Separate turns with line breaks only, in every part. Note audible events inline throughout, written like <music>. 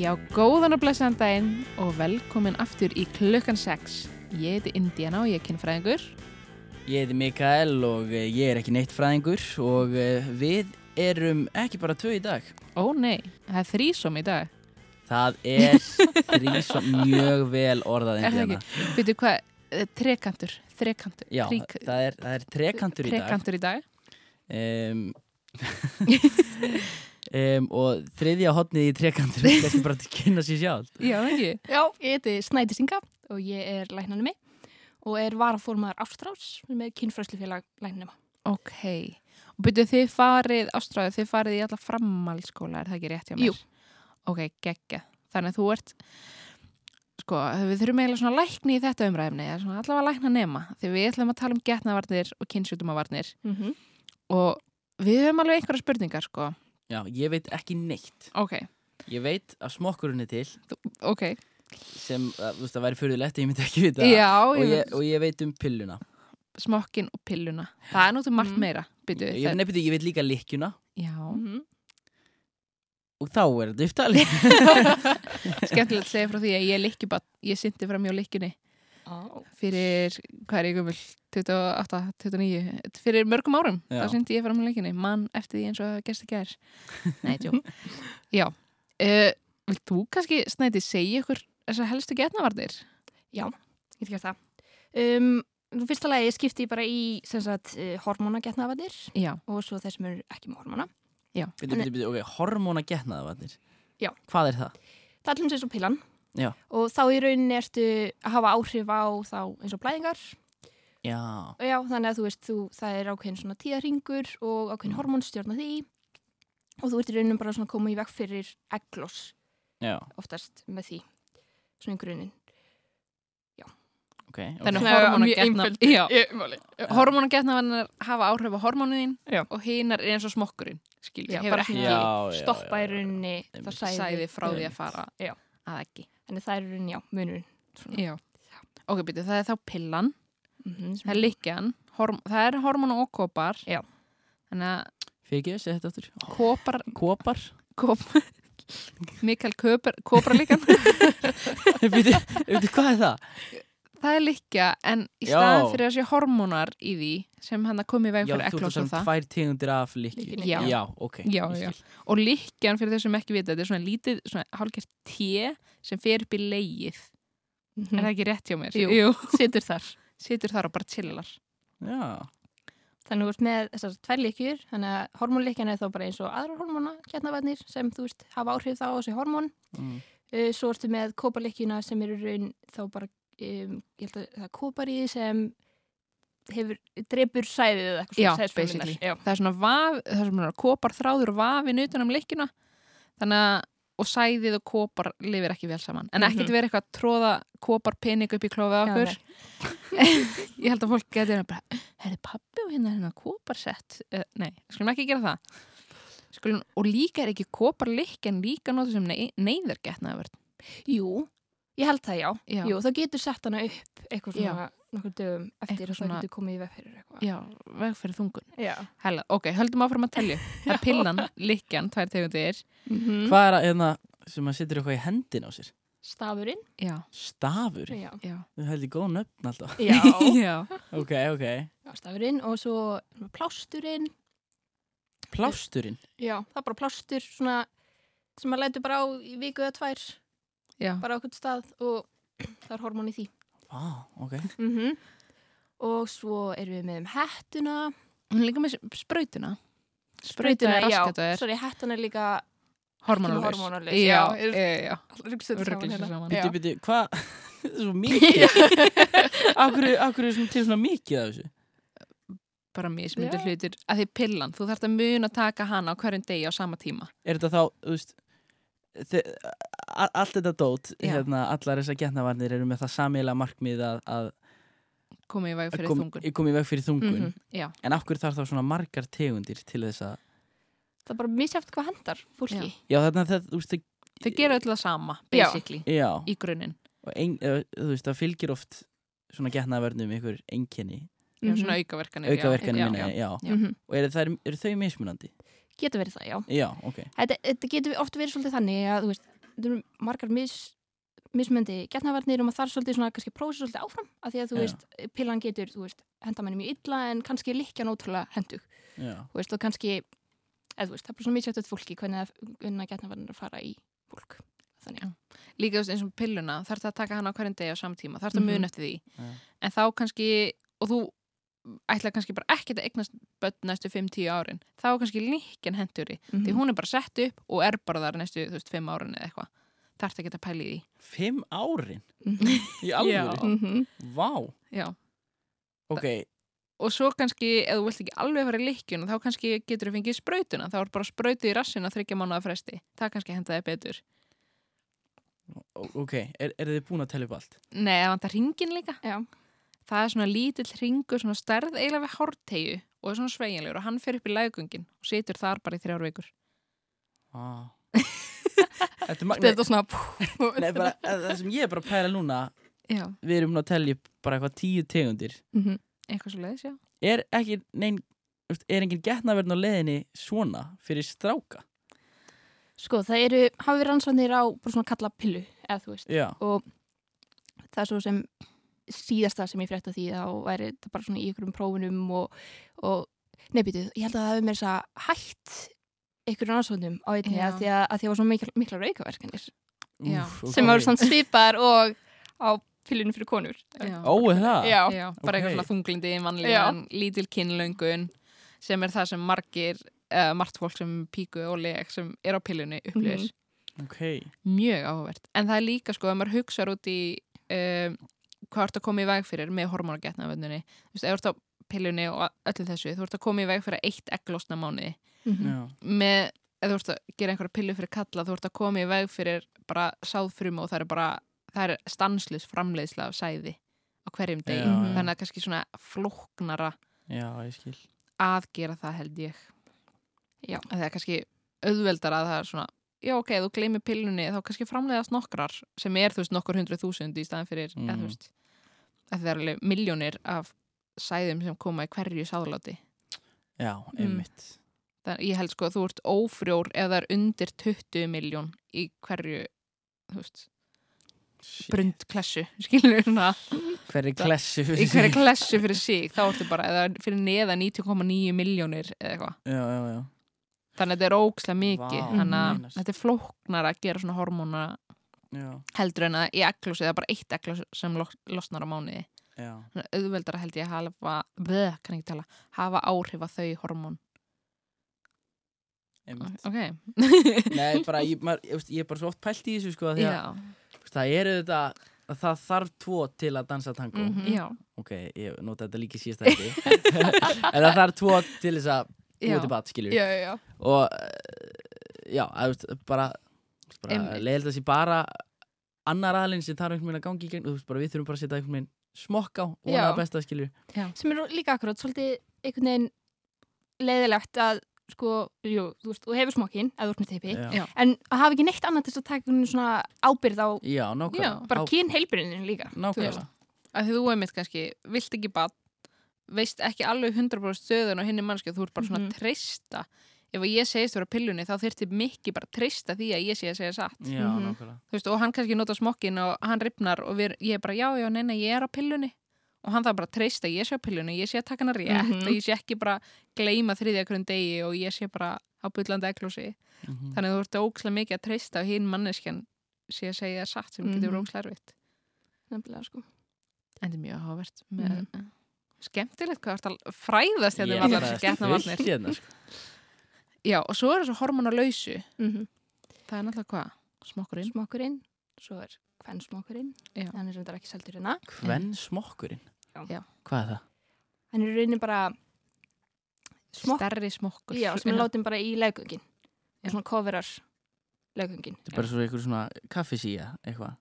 Já, góðan og blessaðan daginn og velkomin aftur í klukkan 6. Ég heiti Indiana og ég er kynfræðingur.
Ég heiti Mikael og eh, ég er ekki neitt fræðingur og eh, við erum ekki bara tvö í dag.
Ó nei, það er þrísom í dag.
Það
<laughs>
er þrísom mjög vel orðað
Er það
Indiana.
ekki? Veitu hvað, eh, trekantur, trekantur,
Já,
trík-
það er, það er trekantur í dag.
trekantur í dag.
Um,
<laughs>
um, og þriðja hotnið í trekantur er kannski bara til að kynna sér sjálf.
Já, það ekki.
Já, ég heiti Snæti Singa og ég er læknanemi og er varaformaðar Ástrás með kynfræslufélag læknanema.
Ok. Og byrju, þið farið, Ástráðu, þið farið í alla framhaldsskóla, er það ekki rétt hjá mér?
Jú.
Ok, geggja. Þannig að þú ert, sko, við þurfum eiginlega svona lækni í þetta umræfni, eða svona allavega lækna nema, því við ætlum að tala um getnavarnir og kynnsjútumavarnir
Mm -hmm.
og við höfum alveg einhverja spurningar, sko.
Já, ég veit ekki neitt.
Ok,
Ég veit að smokkurinn er til
ok.
sem, að, þú veist, það væri fyrirlegt, ég myndi ekki vita það.
Já,
Og
ég,
ég, og ég veit um pilluna.
smokkin og pilluna. Það er náttúrulega margt
Mm.
meira, byrju.
Ég,
það-
nefnir, ég veit líka lykkjuna
Já,
Mhm.
og þá er þetta upptalið.
skemmtilegt að segja frá því að ég er lykkjubann, ég syndi fram hjá lykkjunni. fyrir, hvað er ég gömul, 28, 29, fyrir mörgum árum,
Já.
þá syndi ég fram í leikinni, mann eftir því eins og það gerst ekki er.
<laughs>
Nei, tjó. Já, uh, vilt þú kannski, Snæti, segja ykkur þessar helstu getnavarnir?
Ég get gert það. Um, nú fyrsta lagi ég skipti ég bara í sem sagt, eh, hormónagetnaðavarnir
Já,
og svo þeir sem eru ekki með hormóna.
Byrju, byrju, byrju, ok, hormóna getnaðavarnir.
Já.
Hvað er það?
Það er allir eins og pilan
Já.
og þá í rauninni ertu að hafa áhrif á þá eins og blæðingar
Já.
og já, þannig að þú veist, þú, það er ákveðin svona tíðarhingur og ákveðin hormón stjórna því og þú ert í rauninni bara svona að koma í veg fyrir egloss
Já,
oftast með því svona í grunin
ok. ok.
þannig
Svona
hormónagetna-
mjög
Já,
Ég,
hormónagetnavarnir hafa áhrif á hormónuðin
Já.
og hinar er eins og smokkurinn, skilur,
Já,
hefur
bara
ekki
svona-
Já, já,
stoppa
já,
í rauninni það
Einmitt.
sæði,
sæði frá því
Einmitt.
að fara
Já.
að ekki.
þannig það er í rauninni, já, munurinn
Já. Ok, byrju, það er þá pillan,
mm -hmm,
það er likjan, horm, það er hormónu og kopar.
Já.
Þannig að
Fyrir ekki, segja þetta aftur. Ó,
kopar
Kopar. <laughs>
Kop Mikael Köpar, Kopra líkan
Byrju, veitu, hvað er það?
það er líkja en í
Já.
staðan fyrir þessi hormónar í því sem hann að komi í veg
Já,
fyrir
þú ert um
ekklós og
sem
það
tvær tegundir af likju.
Lykkjunni,
já.
Já, ok.
Já,
ég
já.
skil.
og líkjan fyrir þau sem ekki vita þetta er svona lítið, svona hálfgjart té sem fer upp í leið
Mhm.
er það ekki rétt hjá mér?
Jú. situr þar
Mm. <laughs> situr þar og bara chillar
Já.
þannig þú ert með þessar tvær líkjur þannig að hormónlíkjan er þá bara eins og aðrar hormóna getnavæðnir sem þú veist hafa áhrif þá á þessi hormón
Mm.
uh, svo ertu með kóparlíkjuna sem eru raun þá bara um, ég held að það er kópariði sem hefur, drepur sæðið eða eitthvað
Já,
svona sæðisfrumurnar.
basically.
já,
það er svona vaf, það er svona kopar þráður og vafin utan um líkjuna þannig að og sæðið og kopar lifir ekki vel saman en ekkert
Mhm.
verið eitthvað að tróða kopar pening upp í klófið á
Já,
okkur
nei.
<laughs> ég held að fólk geti hérna bara hefði pabbi og hérna hérna kóparsett uh, nei, skulum ekki gera það skulum, og líka er ekki kóparlikk en líka nóttu sem nei, neyðar getnaðvörn
Jú, ég held það, já.
Já.
Jú, þá getur sett hana upp eitthvað
Já.
svona nokkur dögum eftir
Eitthvað
og
svona-
það getur komið í veg fyrir eitthvað.
já, veg fyrir þungun
Já.
Hella, ok, höldum áfram að
<laughs>
telja það er pillan, likkjan, tvær tegundir
Mm
Mhm.
Hvað er það hérna, sem maður setur eitthvað í hendin á sér?
Stafurinn.
já,
Stafur.
Já.
já,
Þú heldur góð nöfn alltaf. <laughs>
Já.
<laughs> já.
Ok, ok.
Stafurinn og svo plásturinn.
Plásturinn.
Já. Það er bara plástur svona sem maður lætur bara á í viku eða tvær
já.
bara á okkur stað og það er hormóni því.
Vá, ok.
Mm
Mhm.
Og svo erum við með um hettuna.
hún er líka með sprautuna
Brautuna,
sprauta er
já.
raskataður,
Sorry, hettuna er líka
hormonalaus
hormonalaus,
já,
já.
já, já,
rugglisett
Ruglið sér saman.
Býtu, býtu, hvað? <laughs> Þetta er svo
<laughs>
mikið. Akkur, akkur er svona til svona mikið af þessu?
bara mismyndir
Já.
hlutir að því pillan, þú þarft að muna taka hana á hverjum degi á sama tíma
er þetta þá, þú veist þe- a- allt þetta dót
Já.
hérna, allar þessar getnavarnir eru með það samíla markmið að, að
komið í veg
að
fyrir
kom,
þungun
kom í veg fyrir þungun
Mhm.
já,
en af hverju þarf þá svona margar tegundir til þess að
Það er bara misjæft hvað hendar fólki.
já þarna það, þú veist, það,
þau gera öll það sama,
Já.
basically
já,
í grunninn,
og ein, eða, þú veist það fylgir oft svona getnavarnum ykkur einkenni
Já, svona
Mhm.
aukaverkanir. já.
aukaverkanir
Já.
minni, já.
Já.
Mhm.
Og eru, þær, eru þau mismunandi?
Getur verið það, já.
Já, ok.
Þetta, þetta getur oft verið svolítið þannig að, þú veist, þetta eru margar mis, mismöndi getnavarnir og maður þarf svolítið svona kannski að prófa sig svolítið áfram af því að, þú
Já.
veist, pillan getur, þú veist, henda manni mjög illa en kannski líkja náttúrulega hendug,
Já,
þú veist, og kannski, eða þú veist, það er bara svona misjátt eftir fólki hvernig að, hvernig að getnavarnir fara í fólk. Þannig, já.
Líka þú veist, eins og pilluna, þarf það að taka hana á hverjum degi á samtíma, þarf það að
Mhm.
muna eftir því.
Já.
En þá kannski, og þú ætla kannski bara ekkert að eignast börn næstu 5-10 árin, þá er kannski líkjan henduri,
Mhm.
því hún er bara sett upp og er bara þar næstu, þú veist, 5 árin eða eitthvað. Þarf það að geta pæli í því.
fimm árin
Mhm.
í alvöru.
Mhm.
Vá,
Já.
ok,
Og svo kannski, ef þú vilt ekki alveg fara í líkjun, þá kannski getur þú fengið sprautuna, þá er bara sprautu í rassin á þryggja mánuða fresti. Það kannski henda þig betur.
o- ok, er, er þið búin að tella upp allt?
Nei, það vantar ringin líka.
Já.
það er svona lítill ringur, svona stærð eiginlega við hártegu og er svona sveiginlegur og hann fer upp í lægungin og situr þar bara í þrjár vikur.
Ah.
<laughs>
Þetta er magna,
Þetta er svona,
<laughs> nei, bara, það sem ég er bara að pæla núna,
Já,
við erum núna að tella upp bara eitthvað tíu tegundir.
Mhm.
eitthvað svo leiðis, já.
Er ekki, nein, þú veist, er engin getnaverðin á leiðinni svona fyrir stráka?
sko, það eru, hafa verið rannsóknir á bara svona kalla pillu, eða þú veist,
Já,
og það er svo sem síðasta sem ég frétta því þá væri þetta bara svona í ykkurum prófunum og, og nefnbyttu, ég held að það hefur mér þess að hætt ykkur rannsóknum á einni
Já.
að því að, að því að var svona mikla, mikla raukaverkanir
Já.
ok.
sem var svona svipar og á pillinu fyrir konur
Já,
Ó, er það?
Já,
já bara
ok.
eitthvað svona þunglindi,
Já.
mannlegan, lítil kinnlöngun sem er það sem margir, uh, margt fólk sem píku og leg sem er á pillunni upplýðir.
Mhm.
Ok,
Mjög áhugavert. En það er líka sko, ef maður hugsaður út í um, hvað ertu að koma í veg fyrir með hormónagetnaverðinni. Þú veist, ef þú ert á pillunni og öllu þessu, þú ert að koma í veg fyrir eitt egglosna mánuði.
Mhm.
já,
með, eða þú ert að gera einhverja pillu fyrir kalla, þú ert að koma í veg fyrir bara sáðfrumu og það er bara það er stanslis framleiðsla af sæði á hverjum degi,
Já,
já.
þannig að kannski svona flóknara
já, ég skil.
að gera það held ég
Já.
Að það er kannski auðveldar að það er svona já ok, ef þú gleymir pillunni þá kannski framleiðast nokkrar sem er þú veist nokkur hundruð þúsund í staðan fyrir,
Mm.
eða þú veist að það er alveg miljónir af sæðum sem koma í hverju sáðláti
Já, einmitt.
Þannig ég held sko að þú ert ófrjór ef það er undir 20 miljón í hverju, þú veist,
Shit.
brundklessu, <laughs> skilur við svona,
Hverri klessu
í
<laughs>
hverju klessu fyrir sig, þá ertu bara, eða fyrir neða 9,9 miljónir eða eitthvað.
Já, já, já.
Þannig að þetta er ókslega mikið,
Vá, Mm.
þannig að
meinast.
þetta er flóknar að gera svona hormóna
já,
heldur en að í eglus eða bara eitt eglus sem lo- losnar á mánuði.
já.
Þannig að auðveldara held ég að hafa, bleh, kann ekki tala, hafa áhrif að þau hormón.
Einmitt.
Ok,
Nei, bara, ég, maður, ég, veist, ég er bara svo oft pælt í þessu sko, því að
já,
veist, það eru þetta að það þarf tvo til að dansa tango
Mhm.
já,
ok, ég nota þetta líka síðast ekki
<laughs>
en það þarf tvo til þess að
já.
búið til bat, skilju
Já, já, já.
og eh, já, að, veist, bara, veist, bara
Einmitt.
leiðilt að sé bara annar aðlinn sem þarf einhvern veginn að gangi í gegn og þú veist bara við þurfum bara að setja einhvern veginn smokk á og vona
Já.
það besta, skilju
sem er líka akkurat svolítið einhvern veginn leiðilegt að sko, jú, þú veist, þú hefur smokkin eða þú ert með teipi,
Já.
en að hafa ekki neitt annað til þess að taka einhvern veginn svona ábyrð á
já, nákvæmlega
Já,
bara
Á-
kyn heilbyrðinu líka
nákvæmlega,
að því þú er mitt kannski, vilt ekki bat veist ekki alveg 100% stöðun og henni mannskja, þú ert bara svona
Mhm.
að treysta ef að ég segist vera pillunni þá þyrfti mikið bara að treysta því að ég sé að segja satt
já,
Mhm.
nákvæmlega
Þú veist, og hann kannski nota smokkin og hann ripnar og við, ég er bara já, já, nei, nei, ég er á pillunni og hann þarf bara að treysta, að ég sé á pillunni ég sé að taka hana rétt
Mhm.
og ég sé ekki bara gleyma þriðja hverjum degi og ég sé bara á bullandi eglúsi
Mhm.
þannig að þú ert ókslega mikið að treysta og hinn manneskjan sé að segja satt sem getur
Mhm.
verið ókslega erfitt
nefnilega sko
En þetta er mjög áhugavert með skemmtilegt hvað það Mhm. er fræðast
Ég
hérna
er
um allar
bara
þessar getnavarnir.
fullt hérna,
<laughs>
sko.
Já, og svo er þessu hormonalausu.
mm -hmm.
Það er náttúrulega hvað? Smokkurinn?
smokkurinn, svo er hvern smokkurinn
Já.
hann er reyndar ekki seldur hérna
Hvenn smokkurinn?
Já.
Hvað er það?
hann er raunin bara smokk
Stærri smokkur.
já, sem er látin bara í leggöngin
Já.
svona coverar leggöngin
Þetta er bara svo einhver svona kaffisíja eitthvað.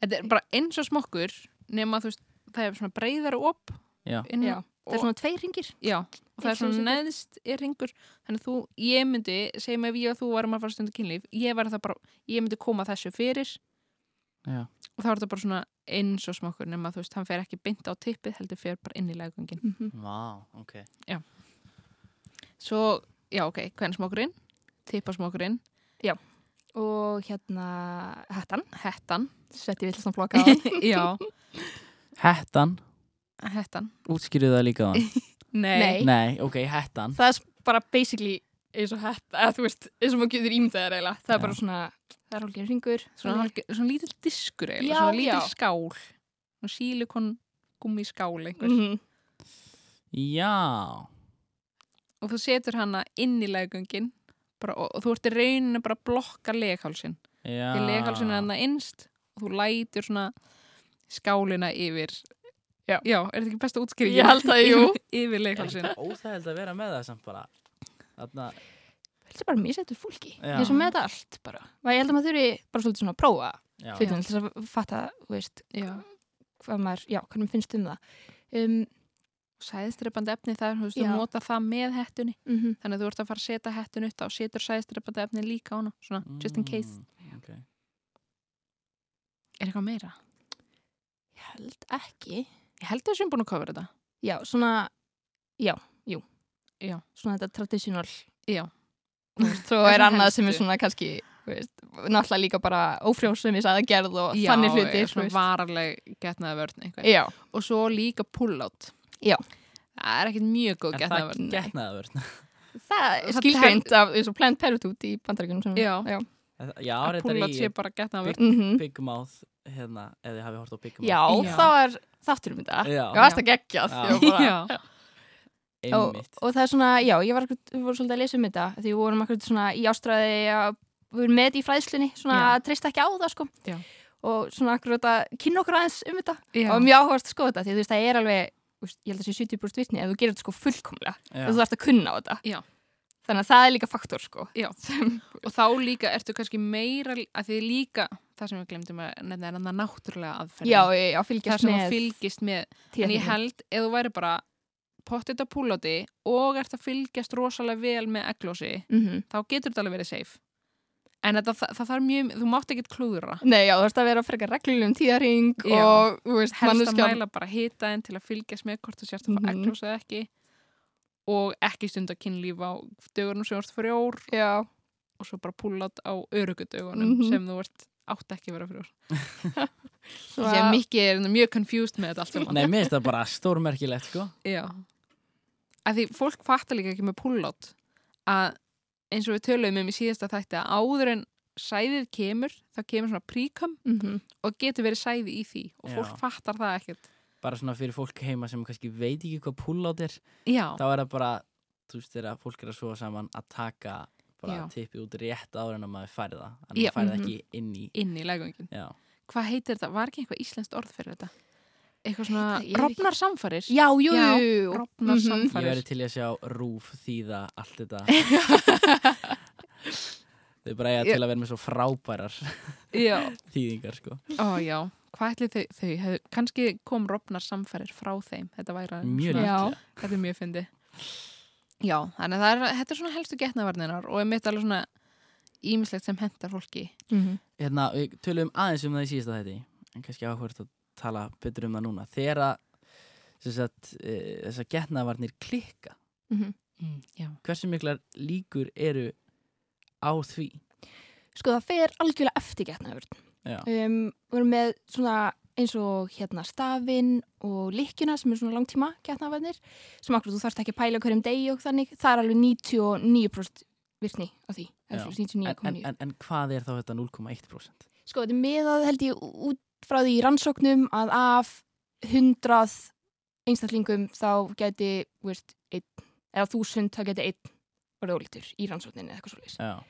Þetta er bara eins og smokkur nema þú veist, það er svona breyðar op.
Já.
inn-
Já. það er
Og-
svona tveir ringir
Já, og það er
Eins og
svona
þessi-
neðst er ringur. Þannig að þú, ég myndi, segjum ef ég og þú varum að fara stundu kynlíf, ég var það bara, ég myndi koma þessu fyrir
Já.
og þá er þetta bara svona eins og smokkur nema þú veist, hann fer ekki beint á tippið heldur fer bara inn í leggungin
Mm -hmm.
Vá, ok.
svo, já ok, hvernig smokkurinn tippasmokkurinn,
Og hérna hættan,
hettan
setti við til svona flokka á hann.
<laughs> já,
Hettan,
hettan,
útskýrðu það
<laughs>
líka á hann.
nei,
Nei.
Nei, ok, hettan.
það er bara basically eins og hætt að þú veist, eins og maður getur ímyndaðar eiginlega það er bara svona, það er hálfgeir ringur
Svona, hálf, svona lítill diskur eiginlega,
Já,
svona lítill
já.
skál svona sílikon gummi skál einhver
Mhm.
Já.
og þú setur hana inn í leggungin bara, og, og þú ert í rauninu bara að blokka leghálsin
Já.
því leghálsin er hana innst og þú lætur svona skálina yfir
Já.
er þetta ekki besta útskýringin?
Ég held að jú.
<laughs> yfir leghálsin
Óþægild að vera með það samt bara. Þarna,
þetta er bara misettur fólki
Já.
eins og með þetta allt bara og ég held að maður þurfi bara svolítið svona að prófa
já.
hlutum til þess að fatta, þú veist
já.
hvað maður, já, hvað maður finnst um það um,
sæðistrepandi efni það er, þú veist,
Já.
þú nota það með hettunni
mm
þannig að þú ert að fara að setja hettun út á og setur sæðistrepandi efni líka á hana svona, just in case
Mm, ok.
er eitthvað meira?
ég held ekki
Ég held að við séum búin að kofra þetta
já, svona, já, jú
Já.
svona þetta traditional
Já.
Þú veist, svo
<laughs> Það
er
sem
annað sem er
helstu.
svona kannski þú veist, náttúrulega líka bara ófrjósum í sæðagerð og
Já,
þannig hluti
er svona vararleg getnaði vörn eitthvað
já,
og svo líka pull-out
Já.
það er ekkert mjög góð
Er það
getnaðvörn
<laughs> getnaðavörn?
það er
Það
skilgreint af eins og Planned Parenthood í bandaríkunum sem
Já.
já.
Já,
að
reyndar
pull-out sé
í
bara getnaðvörn
Mhm.
Big Mouth, hérna, ef þið hafið hort á Big Mouth.
já,
Já.
þá er þáttur um þetta
Já.
ég varst að gegja
Já.
já,
og,
Einmitt.
og það er svona, já, ég var akkur- við vorum svolítið að lesa um þetta því við vorum akkur svona í ástræði að við vorum með þetta í fræðslunni svona
Já.
að treysta ekki á það sko
Já.
og svona akkur að kynna okkur aðeins um þetta
já.
og mjög áhverst sko þetta því þú veist það er alveg þú veist, ég held að sé 70% vitni ef þú gerir þetta sko fullkomlega
Já.
ef þú þarfst að kunna á þetta
Já.
þannig að það er líka faktor sko
Já. og þá líka ertu kannski meira að því líka, það sem við glemdum að nefna er annað náttúrulega aðferð
já, já, já,
það
fylgjast
sem
með
þú fylgist með en
tíðarfylgni.
ég held, ef þú væri bara pottit á pull-outi og ert að fylgjast rosalega vel með eglósi
Mhm.
þá getur þetta alveg verið safe en þetta, það, það þarf mjög, þú mátt ekkert klúðra
Nei, já, þú veist að vera frekar reglulegum tíðarhing
Já.
og, þú veist,
helst að
manneskjan
mæla sko. bara hitaðin til að fylgjast með hvort þú sérst að fá
Mhm.
eglós eða ekki og ekki stund að kynlíf á dögunum sem þú ert frjór
Já,
og svo bara púllat á örugudögunum
Mhm.
sem þú ert átt ekki að vera frjór
Svo-
Ég mikið er mjög confused með þetta allt saman
Nei, mér finnst það bara stórmerkilegt, sko.
Já að því fólk fattar líka ekki með púllat að eins og við töluðum um í síðasta þætti að áður en sæðið kemur, þá kemur svona príkum
mhm,
og getur verið sæði í því og fólk
Já.
fattar það ekkert
Bara svona fyrir fólk heima sem kannski veit ekki hvað pull-out er.
Já,
Þá er það bara, þú veist, þegar fólk er að svo saman að taka bara
Já.
tippið út rétt áður en að maður færi það. En
Já.
maður færi það
Mhm.
ekki inn í.
inn í legungin
Já.
hvað heitir þetta, var ekki eitthvað íslenskt orð fyrir þetta eitthvað svona,
Heita- ég er ekki-
rofnar samfarir
já, jú,
Já,
jú, jú.
rofnar
Mhm.
Ég
samfarir
verði til í að sjá rúf þýða allt <laughs> þetta. Þau bara eiga til að vera með svo frábærar
já,
þýðingar, sko.
ó já, hvað ætli þau, þau hef, kannski kom rofnar samfarir frá þeim þetta væri að-
Mjög
svona,
Já.
líklega.
þetta er mjög fyndi já, þannig að það er, þetta er svona helstu getnavarninar og er mitt alveg svona ímislegt sem hendar fólki
Mhm.
hérna, við tölum aðeins um það í síðasta þetta en kannski áhvert að tala betur um það núna þegar að sem sagt, e, þessar getnaðvarnir klikka
Mhm.
mm, já,
hversu miklar líkur eru á því
Sko það fer algjörlega eftir getnaður.
Já.
Um, við erum með svona eins og hérna stafinn og lykkjuna sem er svona langtíma getnaðvarnir sem akkur þú þarfst ekki að pæla á hverjum degi og þannig, það er alveg 99% virkni á því,
Já.
eða
en,
svona
en,
99,9
en, en hvað er þá þetta 0,1%
Sko þetta er meðað held ég út frá því í rannsóknum að af 100 einstaklingum þá geti, þú veist, einn, eða 1000 þá geti einn orðið ólítur í rannsókninni eða eitthvað svo
já,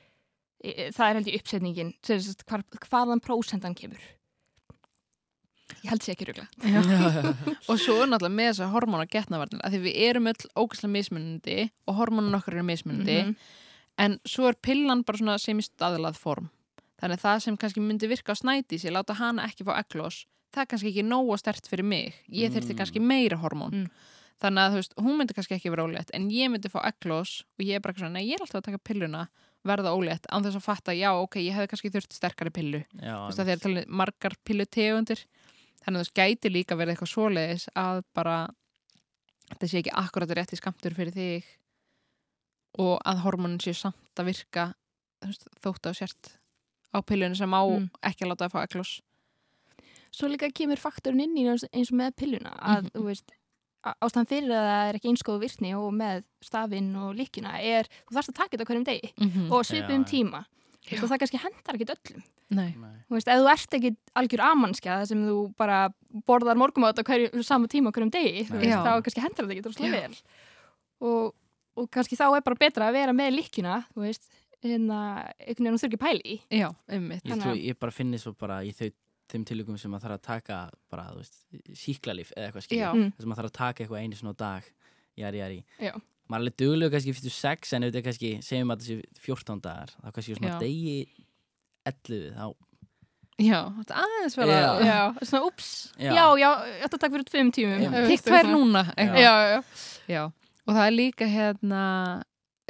E, það er held ég uppsetningin sem sagt, hvar, hvaðan prósendan kemur ég held sér ekki rugla
já. og svo er náttúrulega með þessar hormóna getnavarnir að því við erum öll ógæslega mismunandi og hormónan okkar eru mismunandi
Mhm.
en svo er pillan bara svona sem í staðlað form þannig að það sem kannski myndi virka á snætis ég láta hana ekki fá eglós það er kannski ekki nógu stert fyrir mig ég þyrfti
Mm.
kannski meira hormón
Mm.
þannig að þú veist, hún myndi kannski ekki vera ólétt en ég myndi fá eglós og ég er bara eitthvað svona, nei ég er alltaf að taka pilluna verða ólétt án þess að fatta, já ok, ég hefði kannski þurft sterkari pillu
já
þú veist að þeir tala margar pillutegundir þannig að þess gæti líka verið eitthvað svoleiðis að bara þetta sé ekki akkurat rétti skamtur fyrir þig og að hormonin sé samt að virka þú veist, þótt á sért á pillunni sem á
Mm.
ekki að láta að fá eklos
svo líka kemur faktorinn inn í eins eins og með pilluna að
Mhm.
þú veist á- ástæðan fyrir að það er ekki einskóðu virkni og með stafinn og líkina er þú þarfst að taka þetta á hverjum degi
mm -hmm.
og svipum
Já, já.
tíma Þú
Já.
veist, og það kannski hendar ekki öllum
Nei,
Nei.
Þú veist, ef þú ert ekki algjör amannskja það sem þú bara borðar morgumátt á hverju, sama tíma á hverjum degi þú
Nei.
veist,
Já.
þá kannski hendar þetta ekki droslega
Já.
vel og, og kannski þá er bara betra að vera með líkina þú veist, en að einhvern veginn þú þurfi ekki að pæla í
já, ummitt
Ég,
Þannig
trú,
að-
ég bara finni svo bara í þau þeim tilugum sem maður þarf að taka bara, þú veist, síklarlif eða eitthvað skilja
Já.
Mm.
þess að maður þarf að taka eitthvað einu svona á dag jari, jari
Já.
maður er alveg duglegu kannski fyrstu sex en auðvitað kannski, segjum að þessi 14 dagar þá kannski svona
Já.
degi 11 þá,
Já, þetta er aðeins vel
Já.
að
já, svona ups,
Já.
já, já, já þetta takk fyrir tveim tímum
Einmitt.
Þú veist,
Kikk tvær
svona-
núna
Já.
eitthvað.
já, já, já.
Já, og það er líka hérna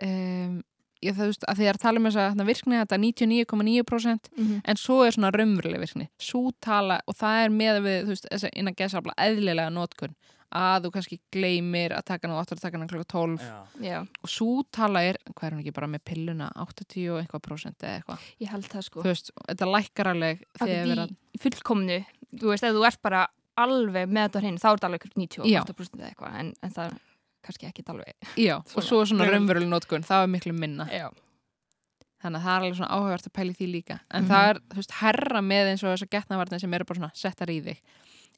um, ég þú veist að því að tala um þess að hérna, virkni þetta er 99,9%
Mhm.
en svo er svona raunveruleg virkni svo tala og það er með við þú veist þess að innan gesafla eðlilega notkun að þú kannski gleymir að taka nú 8 að taka nú klokka 12
já,
Já,
og svo tala er, hvað er hún ekki bara með pilluna 80 og eitthvað prosent eða eitthvað
ég held það sko
þú veist, þetta lækkar alveg
Akkur
þegar
því
við að
fullkomnu, þú veist, ef þú ert bara alveg með þetta á hreinu, þá er þetta alveg 98% eða eitthvað, en, en það er kannski ekki alveg.
já, og
Svona.
svo er svona
Raun-
raunveruleg notkun, það er miklu minna
Já.
þannig að það er alveg svona áhugavert að pæli því líka en
Mhm.
það er, þú veist, herra með eins og þessar getnavarnir sem eru bara svona settar í þig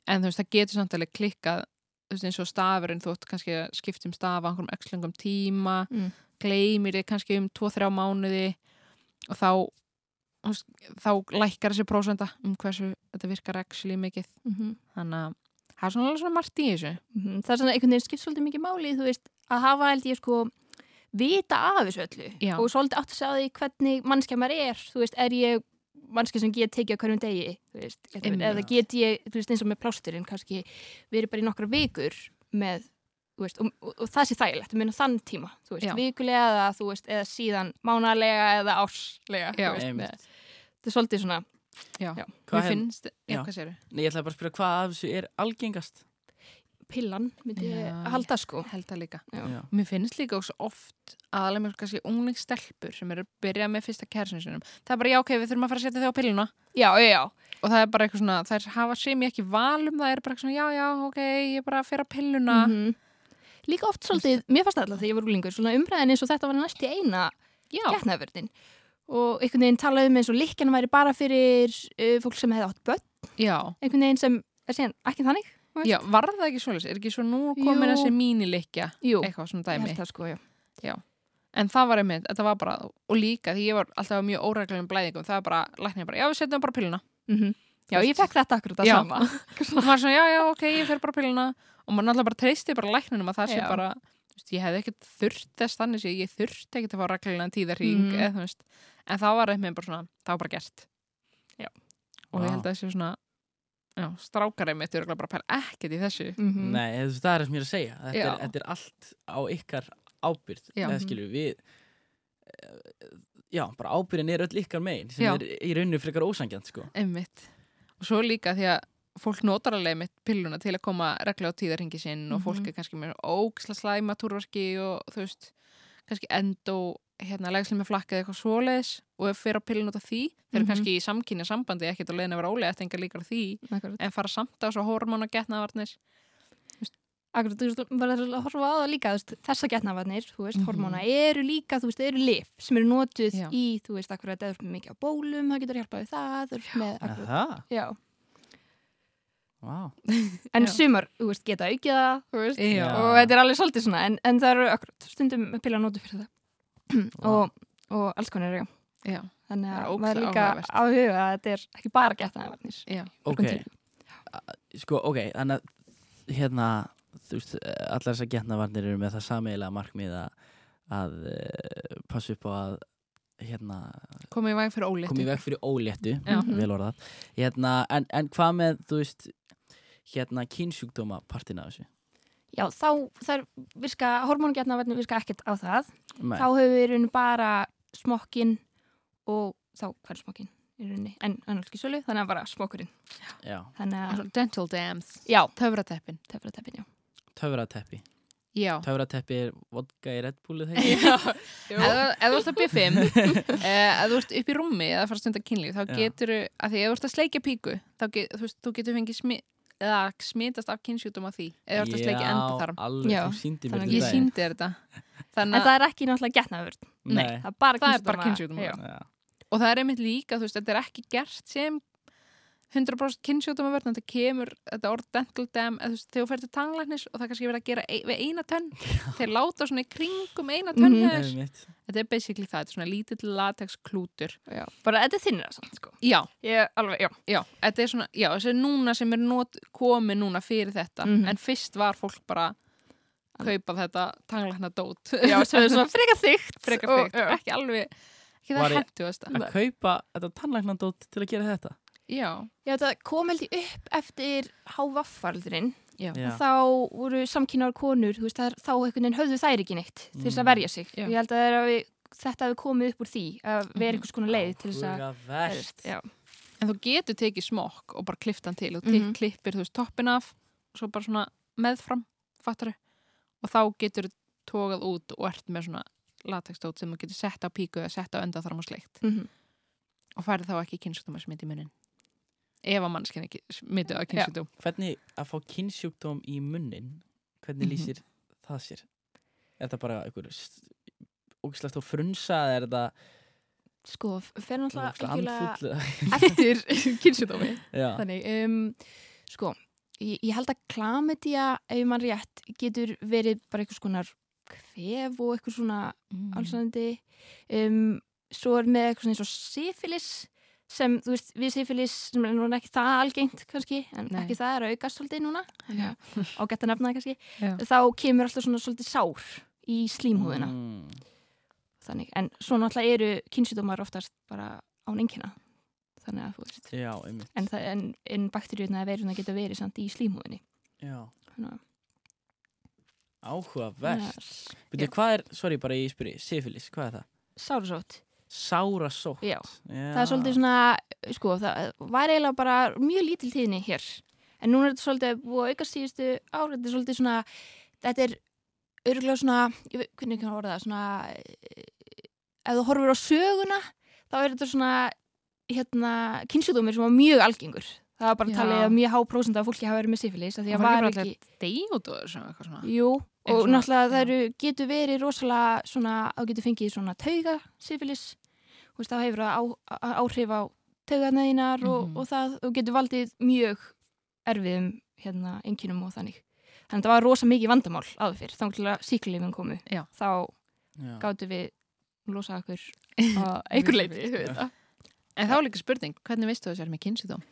en þú veist, það getur samt alveg klikkað þú veist, eins og stafurinn, þú ætti kannski að skipta um stafa á einhverjum öxlungum tíma
Mm.
gleymir þig kannski um 2-3 mánuði og þá þú veist, þá lækkar þessi prósenda um hversu þetta virkar actually mikið
Mhm.
þannig að það er svona alveg svona margt í þessu
Það er svona einhvern veginn skipt svolítið mikið máli, þú veist, að hafa held ég sko vita af þessu öllu
Já.
og svolítið átt að segja því hvernig mannskja maður er, þú veist, er ég mannskja sem get tekið á hverjum degi, þú veist,
Einmitt.
eða get ég, þú veist, eins og með plásturinn kannski verið bara í nokkra vikur með, þú veist, og, og, og það sé þægilegt, minna þann tíma, þú veist,
Já.
vikulega eða, þú veist, eða síðan mánalega eða árslega,
Já.
þú veist,
einmitt.
með, þetta er svolítið svona,
Mér
Hvað hef,
finnst, já,
já.
hvað séru?
nei, ég ætla bara að spyrja hvað af þessu er algengast
pillan, myndi
Já,
ég
ég-
halda sko.
Held það líka
Já.
Já.
Mér finnst líka svo oft aðalega með kannski unglingstelpur sem eru að byrja með fyrsta kærsunum sinum. Það er bara já, ok, við þurfum að fara að setja þau á pilluna
Já, já, já,
og það er bara eitthvað svona, þær hafa sem ég ekki valum, það er bara eitthvað svona, já, já, ok, ég er bara að fyrra pilluna.
Mhm. Líka oft svolítið, mér fannst það alltaf þegar ég var úlingur, svona umræðin eins og þetta var næst í eina
Já,
getnaverðin og einhvern veginn talaði um eins og likkan væri bara fyrir uh, fólk sem hefði átt börn,
já,
einhvern veginn sem er síðan ekki þannig. þú veist?
já, var það ekki svolítið, er ekki svo nú
Jú.
komin þessi mínilikja,
Jú,
eitthvað svona
ég
dæmi.
held það sko, já.
En það var einmitt, þetta var bara, og líka því ég var alltaf á mjög óreglunum blæðingum, það var bara, læknir bara, já, við setjum bara pilluna.
Mm Já, ég fekk þetta akkurat að
Já.
sama.
<laughs> og maður svona, já, já, ok, ég fer bara á pilluna og maður náttúrulega bara treysti bara lækninum að það sé
Já.
bara, þú veist, ég hefði ekkert þurft þess þannig sé, ég þurfti ekkert að fá reglina tíðarhing,
Mm.
eða þú veist en það var einmitt bara svona, það var bara gert
Já.
og
Vá.
ég held að þessi svona já, strákar einmitt, þau eru örugglega bara að pæla ekkert í þessu
Mm
Nei, þú veist, það er það sem ég er að segja þetta,
Já.
er, þetta er allt á ykkar ábyrð
Já.
eða skilur við eh, já, bara ábyrðin er öll ykkar megin sem
Já.
er í rauninu frekar ósangjant sko.
einmitt, og svo líka því að fólk notar alveg einmitt pilluna til að koma regla á tíðarhingi sinn og fólk
Mhm.
er kannski með ógisla slæma túrverki og þú veist, kannski endó hérna, legsli með flakka eða eitthvað svoleiðis og ef fyrir á pillun út af því þeir eru
Mhm.
kannski í samkynja sambandi ekkert á leiðin að vera ólega eftir engar líkar á því
Akkurat,
en fara samt á svo hormón og getnaðvarnir
akkurat, þú veist, bara að horfa á það líka, þú veist, þessa getnavarnir, þú veist,
Mhm.
hormóna eru líka, þú veist, eru lif sem eru notuð
Já.
í, þú veist, akkurat, eða þú ert mikið á bólum, það getur hjálpað við það, þú veist, með,
Er
akkurat,
Það,
já.
vá
En
Já.
sumar, þú veist, geta aukið það, þú veist,
Já.
og þetta er alveg svolítið svona, en, en það eru akkurat stundum pila nótu fyrir það
Vá.
og, og alls konar, já.
Já,
Þannig
Það er
að
ógeðslega
maður líka
áhugavert.
á huga að þetta er ekki bara gett það varnir.
já,
Ok, sko, ok, þannig að hérna, þú veist, eh, allar þessar getnavarnir eru með það sameigilega markmið að, að eh, passa upp á að hérna,
komið í væg fyrir óleitt
komið í veg fyrir óléttu
Já.
Mhm.
vel orðað hérna, en, en hvað með, þú veist hérna, kynsjúkdóma partina þessu
Já, þá það er virka, hormóngetna varnir virka ekkert á það.
Nei.
Þá höfum við í raun bara smokkin og þá, hvað er smokkin? í rauninni, en hann er ekki sölu, þannig að bara smókurinn.
já,
Þannig að,
Dental dams,
já,
töfrateppin
töfratepin, já.
töfrateppi
Já,
töfrateppi er vodka í Red Bulli
<laughs>
þegar
já,
Ef þú- ef þú ert að B5 eh, ef þú ert upp í rúmi eða fara stundar kynlíf þá
Já.
getur þú, af því ef þú ert að sleikja píku þá get, þú, veist, þú getur fengið smi, eða smitast af kynsjútum af því eða þú ert að sleikja endaþarm
alveg,
Já,
þú síndi mér
þannig að
ég
daginn.
síndi þér þetta
en
þannig
það er ekki náttúrulega getnaðvörð.
nei,
Það er bara
Það er
kynsjúkdóma.
bara kynsjúkdómar.
Já.
Já.
að og það er einmitt líka, þú veist, þetta er ekki gert sem 100% kynsjútum að verða þetta kemur, þetta orð dental dam eða, þú veist, þegar þú ferð til tanglæknis og það er kannski verið að gera ein, við eina tönn, þeir láta svona í kringum eina tönn
Mhm.
mm
Nei, mitt.
þetta er basically það, þetta er svona lítill latex klútur
Já. Bara, þetta er þinnir samt, sko.
já,
Ég, alveg, já.
Já, þetta er svona, já, þessi núna sem er not, komið núna fyrir þetta
Mhm.
en fyrst var fólk bara að kaupa þetta tanglækna dót
<laughs> Já, sem er svona frekar
<laughs>
þygt.
frekar
og-
fyrkt,
já.
ekki alveg ekki
Var
það
ég-
hentu þess
að kaupa þetta tannlæknandótt til að gera þetta
Já,
Já, þetta kom held ég upp eftir hávaffaldurinn.
já,
Já.
Þá voru samkynnar konur, þú veist, það er, þá einhvern veginn höfðu þær ekki neitt til þess að
Mm.
verja sig.
Já.
Ég held að það er að við, þetta hefur komið upp úr því að vera einhvers konar leið til þess að...
Áhugavert.
Mhm. Já.
En þú getur tekið smokk og bara klippt hann til og mm
Mhm.
klippir þú veist toppin af og svo bara svona meðfram, fattaru og þá getur þú tókað út og ert með svona latexdót sem þú getur sett á píku eða sett á öndaþarm og sleikt
Mm -hmm.
og færið þá ekki kynsjúkdóma smitt í munin ef að mannskinn ekki smittu á kynsjúkdóm
hvernig að fá kynnsjúkdóm í munnin hvernig
Mhm.
lýsir það sér er þetta bara einhver ógislega stór frunsa eða er þetta
Sko, fyrir náttúrulega
ógislega
algjörlega
andfull eða-
<laughs> eftir kynsjúdómi.
<laughs> Já.
Þannig, um, sko, ég, ég held að klamidía, ef mann rétt, getur verið bara einhvers konar kvef og einhvers svona
mm.
allsandi. Um, svo er með eitthvað svona eins og sífilis sem, þú veist, við sífilis sem er núna ekki það algengt kannski, en
Nei.
ekki það er að aukast svolítið núna,
Já. <laughs>
ágætt að nefna það kannski,
Já.
þá kemur alltaf svona svolítið sár í slímhúðina.
Mm.
Þannig, en svo náttúrulega eru kynsjúdómar oftast bara án einkina. Þannig að, þú veist,
já, einmitt
en, það- en, en bakteríuna eða veiruna geta verið samt í slímhúðinni.
já.
Þannig að-
áhugavert
Yes.
Byrju,
Já.
hvað er, sorry bara ég spyrir, sífilis, hvað er það?
Sárasótt.
Sára sótt
Já. Það er svolítið svona, sko, það var eiginlega bara mjög lítil tíðni hér. En núna er þetta svolítið búið að auka síðustu ára, þetta er svolítið svona, þetta er örgulega svona, ég veit, hvernig kannar orða það, svona, eh, ef þú horfir á söguna, þá er þetta svona, hérna, kynnsjúdómir sem var mjög algengur. Það var bara
Já.
talið að mjög há prósent af fólki hafa verið með sífilis, að því
Var
að
ekki
var
bara
ekki,
allir- deyð út og svona eitthvað svona
jú, og
svona-
náttúrulega það
já.
eru, getur verið rosalega svona, þá getur fengið svona tauga sífilis, þú veist, þá hefur það á, á- áhrif á tauganæðinar og,
Mhm.
og það, og getur valdið mjög erfiðum, hérna, enginum og þannig. Þannig að það var rosa mikið vandamál áður fyrr, þá til að síklifin komu.
Já.
Þá
svona
gáttu við losað okkur
<laughs>
á einhver leiti, við þetta.
En þá er líka spurning, hvernig veistu þess að það er með kynsjúkdóm?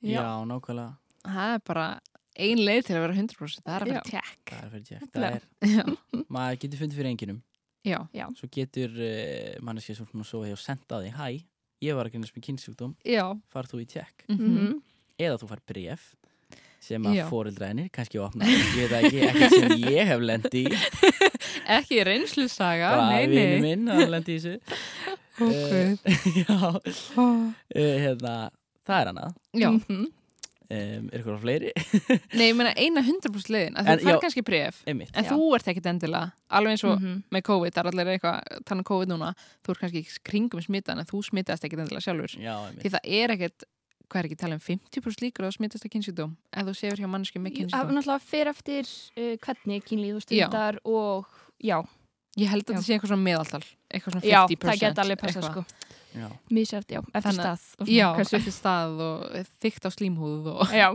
já, nákvæmlega,
Það er bara ein leið til að vera 100% það er að vera tjekk
það er fyrir tjekk það er,
Nefnilega. <laughs>
maður getur fundið fyrir enginum
Já,
svo getur uh, manneskja sem svona svo hefur sendað því hæ, ég var að grunast með kynnsjúkdóm
já
far þú í tjekk
mm
Mm -hmm.
eða þú far bref sem að
Já.
fóreldræðinir kannski opna ég veit það ekki, ekki sem ég hef lendi
Ekki reynslusaga,
bara
nei,
vinnu
nei
minn að lendi í þessu Eh,
Ok.
<laughs> já, uh,
Mhm.
hérna það er annað
Já,
um, er ykkur á
<laughs>
fleiri?
nei, ég meina eina 100% leiðin að
En,
þú fær
já.
kannski bref
Einmitt.
en
Já.
þú ert ekkit endilega alveg eins og
Mhm.
með COVID, það er allir eitthvað tannig COVID núna, þú ert kannski í kringum smittan en þú smittast ekkit endilega sjálfur
já,
Því
einmitt.
það er ekkert, hvað er ekki að tala um 50% líkur á að smittast að kynsjúkdóm ef þú séur hjá mannski með
Það er
kynsjúkdóm
náttúrulega fyrir eftir uh, hvernig kynlíð og
Já.
stundar og, já,
Ég held að
Já.
þetta sé eitthvað svona meðaltal eitthvað svona 50%
já, það geta alveg passað,
eitthvað.
sko.
já,
Mísjart, já, eftir
Þannig
stað og
Já,
svona, hversu-
eftir stað og þygt á slímhúð <laughs> og
já.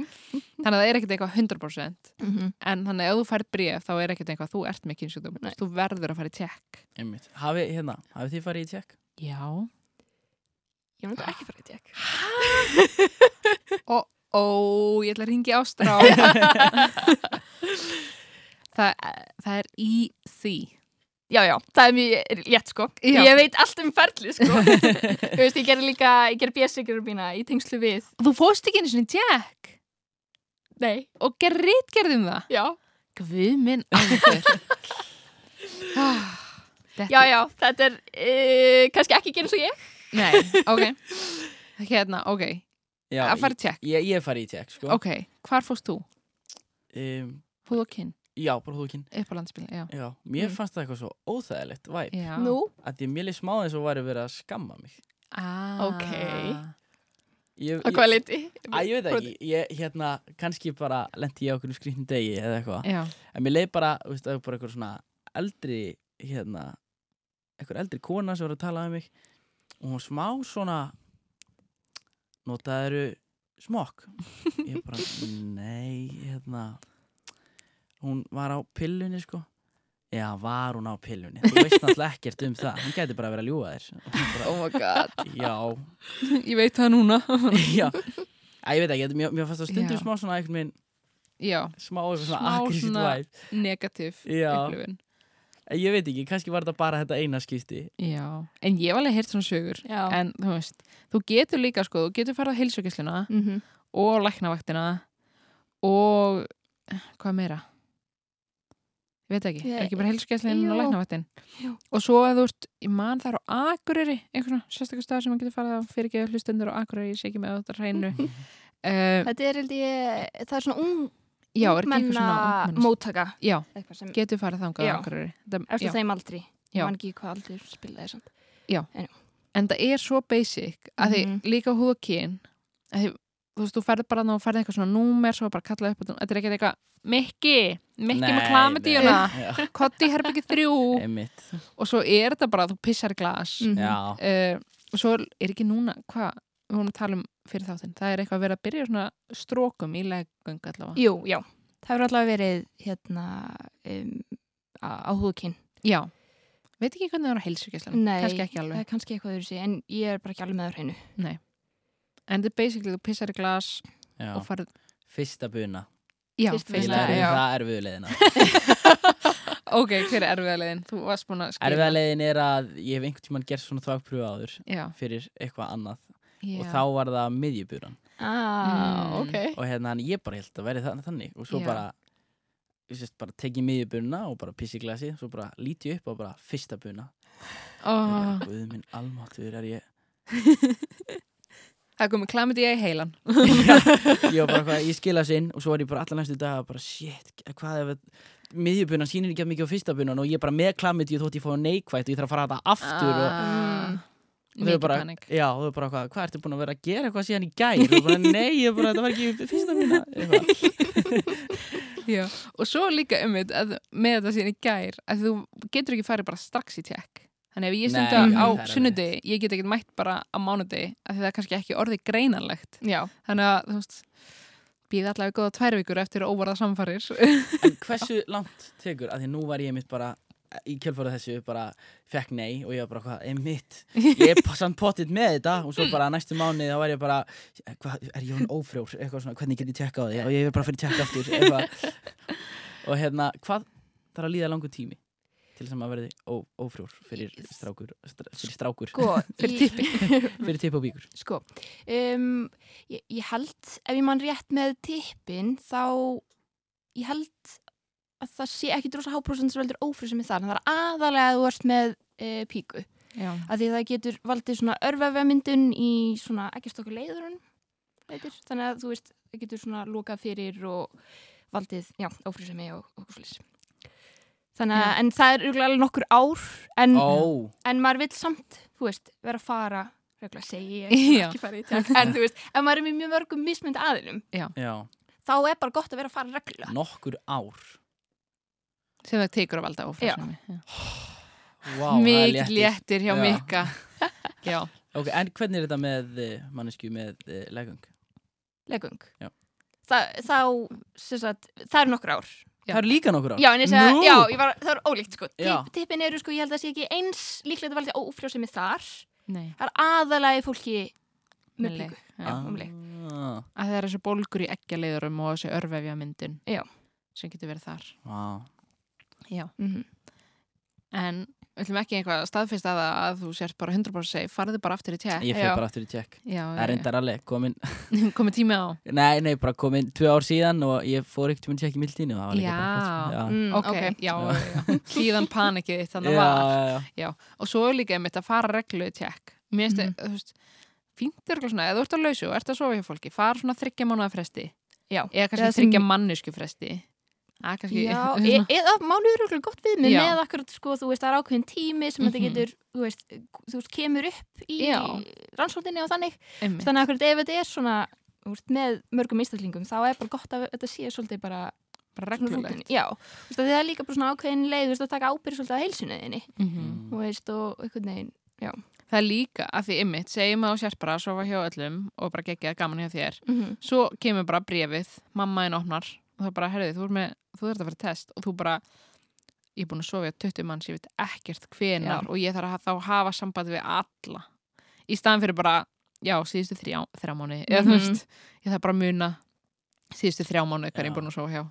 þannig að það er ekkert eitthvað 100%
Mm
en þannig að ef þú fær bréf þá er ekkert eitthvað þú ert með kynsjúkdóm,
Nei.
þú verður að fara í tjekk
einmitt hafi, hérna, hafi þið farið í tjekk?
Já
Ég var náttúrulega ekki farið í tjekk
Ó, ég ætla að ringi <laughs> ástrá það, það er í því
Já, já, það er mjög létt sko
Já.
Ég veit allt um ferli <laughs> sko Þú veist, ég gerði líka, ég gerði bjössigur mína í tengslu við
Þú fóst ekki einu sinni í tjekk
Nei,
og gerð rítgerðum það
já,
Guð minn alveg <laughs> ah,
já, já, þetta er uh, e, kannski ekki gerð eins og ég
Nei, ok Hérna, ok,
Já,
að fara í tjekk
ég, ég fari í tjekk sko.
Ok, hvar fórst þú?
um,
Húð og kinn,
Já, bara húkin
upp á landspil Já,
já, Mér
Mm.
fannst það eitthvað svo óþægilegt væp
já.
Nú,
að því mér leið smá eins og væri verið að skamma mig
ah.
Ok.
ég,
Á hvað liti?
Æ, ég veit það ekki, ég, hérna, kannski bara lendi ég á okkur skrýtnum degi eða eitthvað
Já,
En mér leið bara, þú veist, það er bara eitthvað svona eldri, hérna, eitthvað eldri kona sem var að tala um mig Og hún smá svona, notaðiru smokk Ég bara, nei, hérna, hún var á pillunni, sko Já, var hún á pillunni, þú veist náttúrulega ekkert um það, hún gæti bara verið að ljúga þér Og hún bara,
Oh my god.
Já,
<laughs> ég veit það núna
<laughs> já Æ, ég veit ekki, þetta- mér, mér fannst það stundum
Já.
smá svona einhvern veginn,
Já,
smá eitthvað svona
Smá
aggressíft
svona-
væp
negativ
Já.
upplifun
En Ég veit ekki, kannski var þetta bara þetta eina skipti
Já, en ég var alveg heyrt svona sögur
já.
En þú veist, þú getur líka sko, þú getur farið á heilsugisluna
Mm
og læknavaktina og hvað meira? Ég veit ekki,
Ég-
ekki bara heilsugislinn
Jú.
og læknavaktin
Jú.
og svo að þú veist, ég man þar á Akureyri einhverjum sérstakar stað sem maður getur farið á fyrirgeðu hlustendur á Akureyri, ég sé ekki með þetta hreinu
<laughs>
uh,
Þetta er, held ég, það er svona ung,
Já, er ekki eitthvað svona ungmennis-
móttaka.
Já,
Eitthvað sem,
getur farið þangað á
Já.
Akureyri Það-
eftir
já.
þeim aldri.
Já.
Ég man ekki hvað aldur spilaði samt.
en það er svo basic að
Mhm.
þið líka húð og kyn að þið, þú veist, þú ferð bara þarna og ferð eitthvað svona númer svo er bara kallað upp og þetta er ekkert eitthvað Mikki, Mikki hérna. með klamidíuna <laughs>
<laughs>
Já,
Kotti herbyggið þrjú
einmitt
<laughs> og svo er þetta bara að þú pissar í glas
Mhm.
Já,
uh, og svo er ekki núna hvað, við vorum að tala um fyrir þáttinn það er eitthvað að vera að byrja svona strókum í leggöng allavega
Jú, já. Það hefur allavega verið, hérna, um, á, á húðkinn.
Já, veit ekki hvernig það er á heilsugjæslan
Nei.
kannski ekki
Það
alveg
er kannski eitthvað öðru en ég er bara ekki alveg með á hreinu.
en þetta er basically þú pissar í glas
já
og farð
Fyrsta buna
Já,
Fyrst
Ég
Fyrsta-
læri
já.
það erfiðu
<laughs>
leiðina
Ok, hver er erfiða leiðin? Þú varst búin að skilja
Erfiða leiðin er að ég hef einhvern tímann gert svona þvákpröfu áður
Já,
fyrir eitthvað annað
já.
og þá var það miðjuburan
Mm.
Ah, ok.
og hérna hann ég bara held að veri þannig, þannig og svo
Já.
bara ég sést bara tekið miðjuburna og bara pissi glasi svo bara líti ég upp og bara fyrsta buna
oh,
Guð minn almáttur er ég
Það komið klamið í heilan
Ég var bara eitthvað, ég skila þessu inn og svo var ég bara allar næstu dag bara shit, hvað ef miðjubunan sýnir ekki jafn mikið á fyrsta bunan og ég er bara með klamið ég þótt ég fóði neikvætt og ég þarf að fara að þetta aftur og,
ah,
Mm.
og þau
Mikið
bara,
panik
já, og þau bara hvað, hvað ertu búin að vera að gera eitthvað síðan í gær og bara nei, ég bara, þetta var ekki fyrsta buna Eitthvað.
já. Og svo líka um þetta með þetta síðan í gær að þú getur ekki farið bara strax í tjekk Þannig ef ég
Nei,
stunda
já,
á
það er
sunnudegi ég get ekkert mætt bara á mánudegi af því það er kannski ekki orðið greinanlegt
Já.
Þannig að, þú veist býð allavega góða tvær vikur eftir óvarða samfarir
en hversu langt tekur, að því nú var ég mitt bara í kjölfara þessu, bara fekk nei og ég var bara hvað, er mitt ég er pa- samt pottitt með þetta og svo bara næstu mánu þá var ég bara, hvað, er ég hún ófrjór eitthvað svona, hvernig get ég tjekka á því og ég er bara fyrir tjekka aftur eitthvað og hérna, hvað þarf að líða langur tími til þess að maður verði ó, ófrjór fyrir strákur, str fyrir strákur
<laughs> Sko,
Fyrir
í-
fyrir tipp og bíkur
Sko, um, ég, ég held, ef ég man rétt með tippin, þá ég held að það sé ekki drosa háprósent sem veldur ófrísum í þar. Það er aðalega að þú ert með e, píku.
Já,
Af því það getur valdið svona örfavemyndun í svona ekki stokku leiðurun. Veitir? Þannig að þú veist, það getur svona lokað fyrir og valdið, já, ófrísum í og okkur slís. Þannig að, en það er örugglega alveg nokkur ár, en,
ó,
en maður vil samt, þú veist, vera að fara, reglulega segi ég,
Já.
ekki fara í tjekk, en þú veist, ef maður er með mjög mörgum mismund aðilum,
já,
þá er bara gott að vera að fara reglulega.
nokkur ár
<laughs> sem það tekur að valda ófræsnami
Vá, það er
Mikið léttir hjá
Já.
<laughs> Mikka Já,
ok, en hvernig er þetta með eh, manneskju með uh, legung?
Legung.
Já.
Þa, þá, sem sagt, það er nokkur ár.
Já.
það eru líka nokkur ár
Já, en ég segja,
Nú!
já, ég var, það er ólíkt, sko.
Já.
Tipp, tippin eru, sko, ég held að sé ekki eins líklegt að valda ófrjósemi þar.
nei
Það er aðalagi fólki
Með
með
leg,
píku.
já.
Já, um leið.
ah,
að það er þessi bólgur í eggjaleiðurum og þessi örvefja myndun
Já.
sem getur verið þar
Vá.
Mm -hmm.
en við ætlum ekki eitthvað að staðfesta það að þú sért bara 100% safe, farðu bara aftur í tjekk
Ég
Já.
fyrir bara aftur í tjekk.
já,
Það er reyndar alveg komin, <laughs>
<laughs> komið tími á
nei, nei, bara komin tvö ár síðan og ég fór ekkert um að tjekka í mildtíðinu. og það var líka
Já.
bara
Mm,
flott,
ok, já, já. já. hlýðan panikið þitt þannig
já,
var
já, já.
og svo er líka einmitt að fara reglu í tjekk mér finnst mm. þú veist fínt er svona, eða þú ert að lausu og ert að sofa hjá fólki fara svona þryggja mánuða fresti
Já.
eða
Eða
kannski
sem-
þryggja mannisku fresti að kannski
Já, e
<laughs> svona,
eða mánuður er gott við mig
Já.
með akkurat, sko, þú veist, það er ákveðin tími sem þetta
Mhm.
getur, þú veist, þú veist, kemur upp í
Já.
rannsókninni og þannig
einmitt.
þannig að akkurat ef þetta er svona þú veist, með mörgum einstaklingum þá er bara gott að þetta sé svolítið bara
bara
svona
reglulegt
rútín. Já, þú veist, af því það er líka bara svona ákveðin leið þú veist, að taka ábyrgð svolítið á heilsunuðinni
Mhm.
Mm.
þú veist, og einhvern veginn
það er líka að því ymmit segjum að þú sért bara að sofa hjá öllum og bara geggjað gaman hjá þér
mm
svo kemur bara brefið, mamma þinn opnar og það er bara, herðið, þú, ert með- þú ert að fara í test og þú bara, ég er búin að sofa hjá 20 manns, ég veit ekkert hvenar
Já.
og ég þarf að þá hafa sambandi við alla í staðan fyrir bara já, síðustu þrjá, þrjá mánu eða þú
Mhm.
veist, ég þarf bara að muna síðustu þrjá mánu hver ég
Já.
er búin að sofa hjá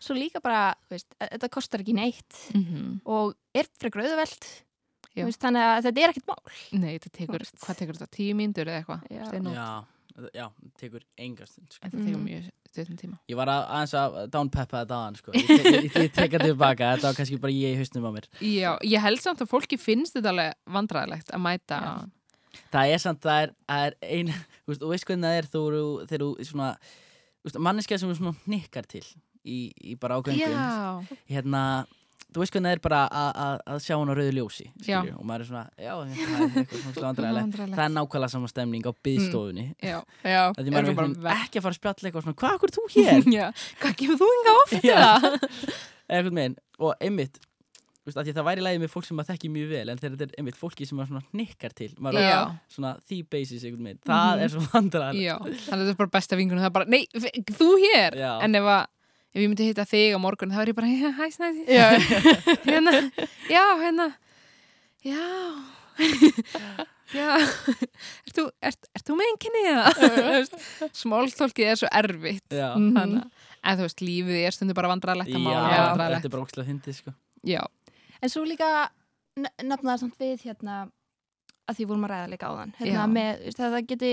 svo líka bara, þú veist, að- þetta kostar ekki neitt
mm
og er frekar auðvelt
Já.
þú veist, þannig að þetta er ekkert mál
nei, þetta tekur,
Þú veist.
hvað tekur þetta, tíu mínútur eða eitthvað
Já.
Steinó.
Já, þetta- já, tekur enga stund sko.
en það tekur
Mhm.
mjög stuttum tíma
Ég var að, aðeins að downpeppa þetta aðan sko. Ég, te- ég, ég teka tilbaka, þetta var kannski bara ég í hausnum á mér
já, ég held samt að fólki finnst þetta alveg vandræðilegt að mæta
Já.
á-
Það er samt, það er, það er ein þú veist, Þú veist hvernig það er þú eru, þegar þú svona þú veist, Manneskja sem þú svona hnikkar til Í, í bara ágöngum
já,
Hérna, þú veist hvernig það er bara að- að að sjá hún á rauðu ljósi
Já.
skilju, Og maður er svona, já, það er eitthvað
<laughs>
svona vandræðilegt Það er nákvæmlega sama stemning á byðstofunni mm.
Já, já
Það er maður
bara
einhvern veginn
verð-
ekki að fara að spjalla eitthvað svona Hvað, hvað er þú
<laughs>
hér?
Já, hvað kemur þú inga ofta?
Já.
Já.
<laughs> Eða einhvern veginn, og einmitt þú veist, af því að það væri lægið með fólk sem maður þekki mjög vel en þegar þetta er einmitt fólki sem maður svona nikkar til maður er
Já.
svona því basis einhvern veginn það er svo vandræðilegt
já, þannig að þetta er bara besta vingunum það er bara, nei, f- þú hér
Já.
en ef, að, ef ég myndi hitta þig á morgun þá er ég bara, "Já, hæ snæði já. <laughs> hérna, já, hérna já já ert þú, ert, ert þú með enginni <laughs> eða smóltólkið er svo erfitt
Já,
Mhm.
þannig að en þú veist, lífið er stundu bara vandræðilegt að mála
já þetta
vandræðilegt
er bara ókslega fyndið sko
já,
En svo líka nafnaðar samt við hérna að því vorum að ræða líka á þann hérna,
Já.
með, þú veist, að það geti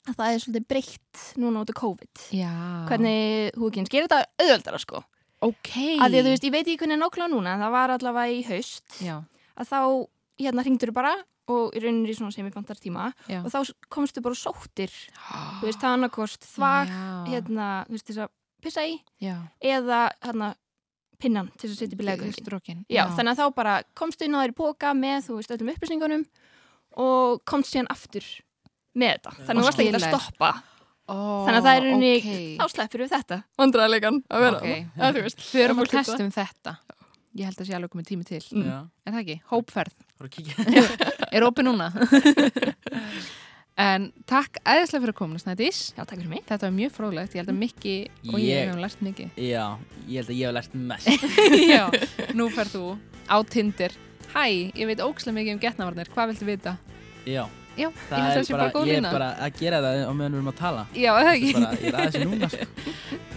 að það er svolítið breytt núna út af COVID
já
hvernig húkinn gerir þetta auðveldara sko
ok
að því að þú veist, ég veit ekki hvernig nákvæmlega núna en það var allavega í haust
já,
að þá hérna hringdur bara og í rauninni í svona sem ég bandar tíma
já
og þá s- komstu bara og sóttir
<gasps>
þú veist, það annarkost þvag hérna, þú veist, þess að pissa í
já,
eða hérna pinnan til þess að setja upp í legöngin
strókin
Já, þannig að þá bara komst inn á þér í boka með, þú veist, öllum upplýsingunum og komst síðan aftur með þetta. Þannig að
Og
þú varst ekki að
skilaðir.
stoppa.
oh,
þannig að það er unni,
okay.
þá sleppir við þetta. Vandræðilegan að vera
Ok.
þarna. Já, þú veist,
Förum
ef
að
fólk vill það.
testum þetta Ég held að sé alveg komið tími til
Mm.
Já,
Er það ekki? Hópferð
bara að kíkja
Er opið núna
<laughs>
En takk æðislega fyrir að koma Snædís
Já, takk fyrir mig.
Þetta var mjög fróðlegt, ég held að Mikki og ég,
Ég-
hefum lært
<laughs>
mikið
Já, ég held að ég hef lært mest
Já, nú ferð þú á Tinder Hæ, ég veit ókslega mikið um getnavarnir, hvað viltu vita?
Já,
Já, ég held
það
að
er
það sé bara
bara,
góð
ég er
lína
bara að gera það á meðan við erum að tala
Já, er það
Þetta er
ekki
bara, ég er aðeins núna sko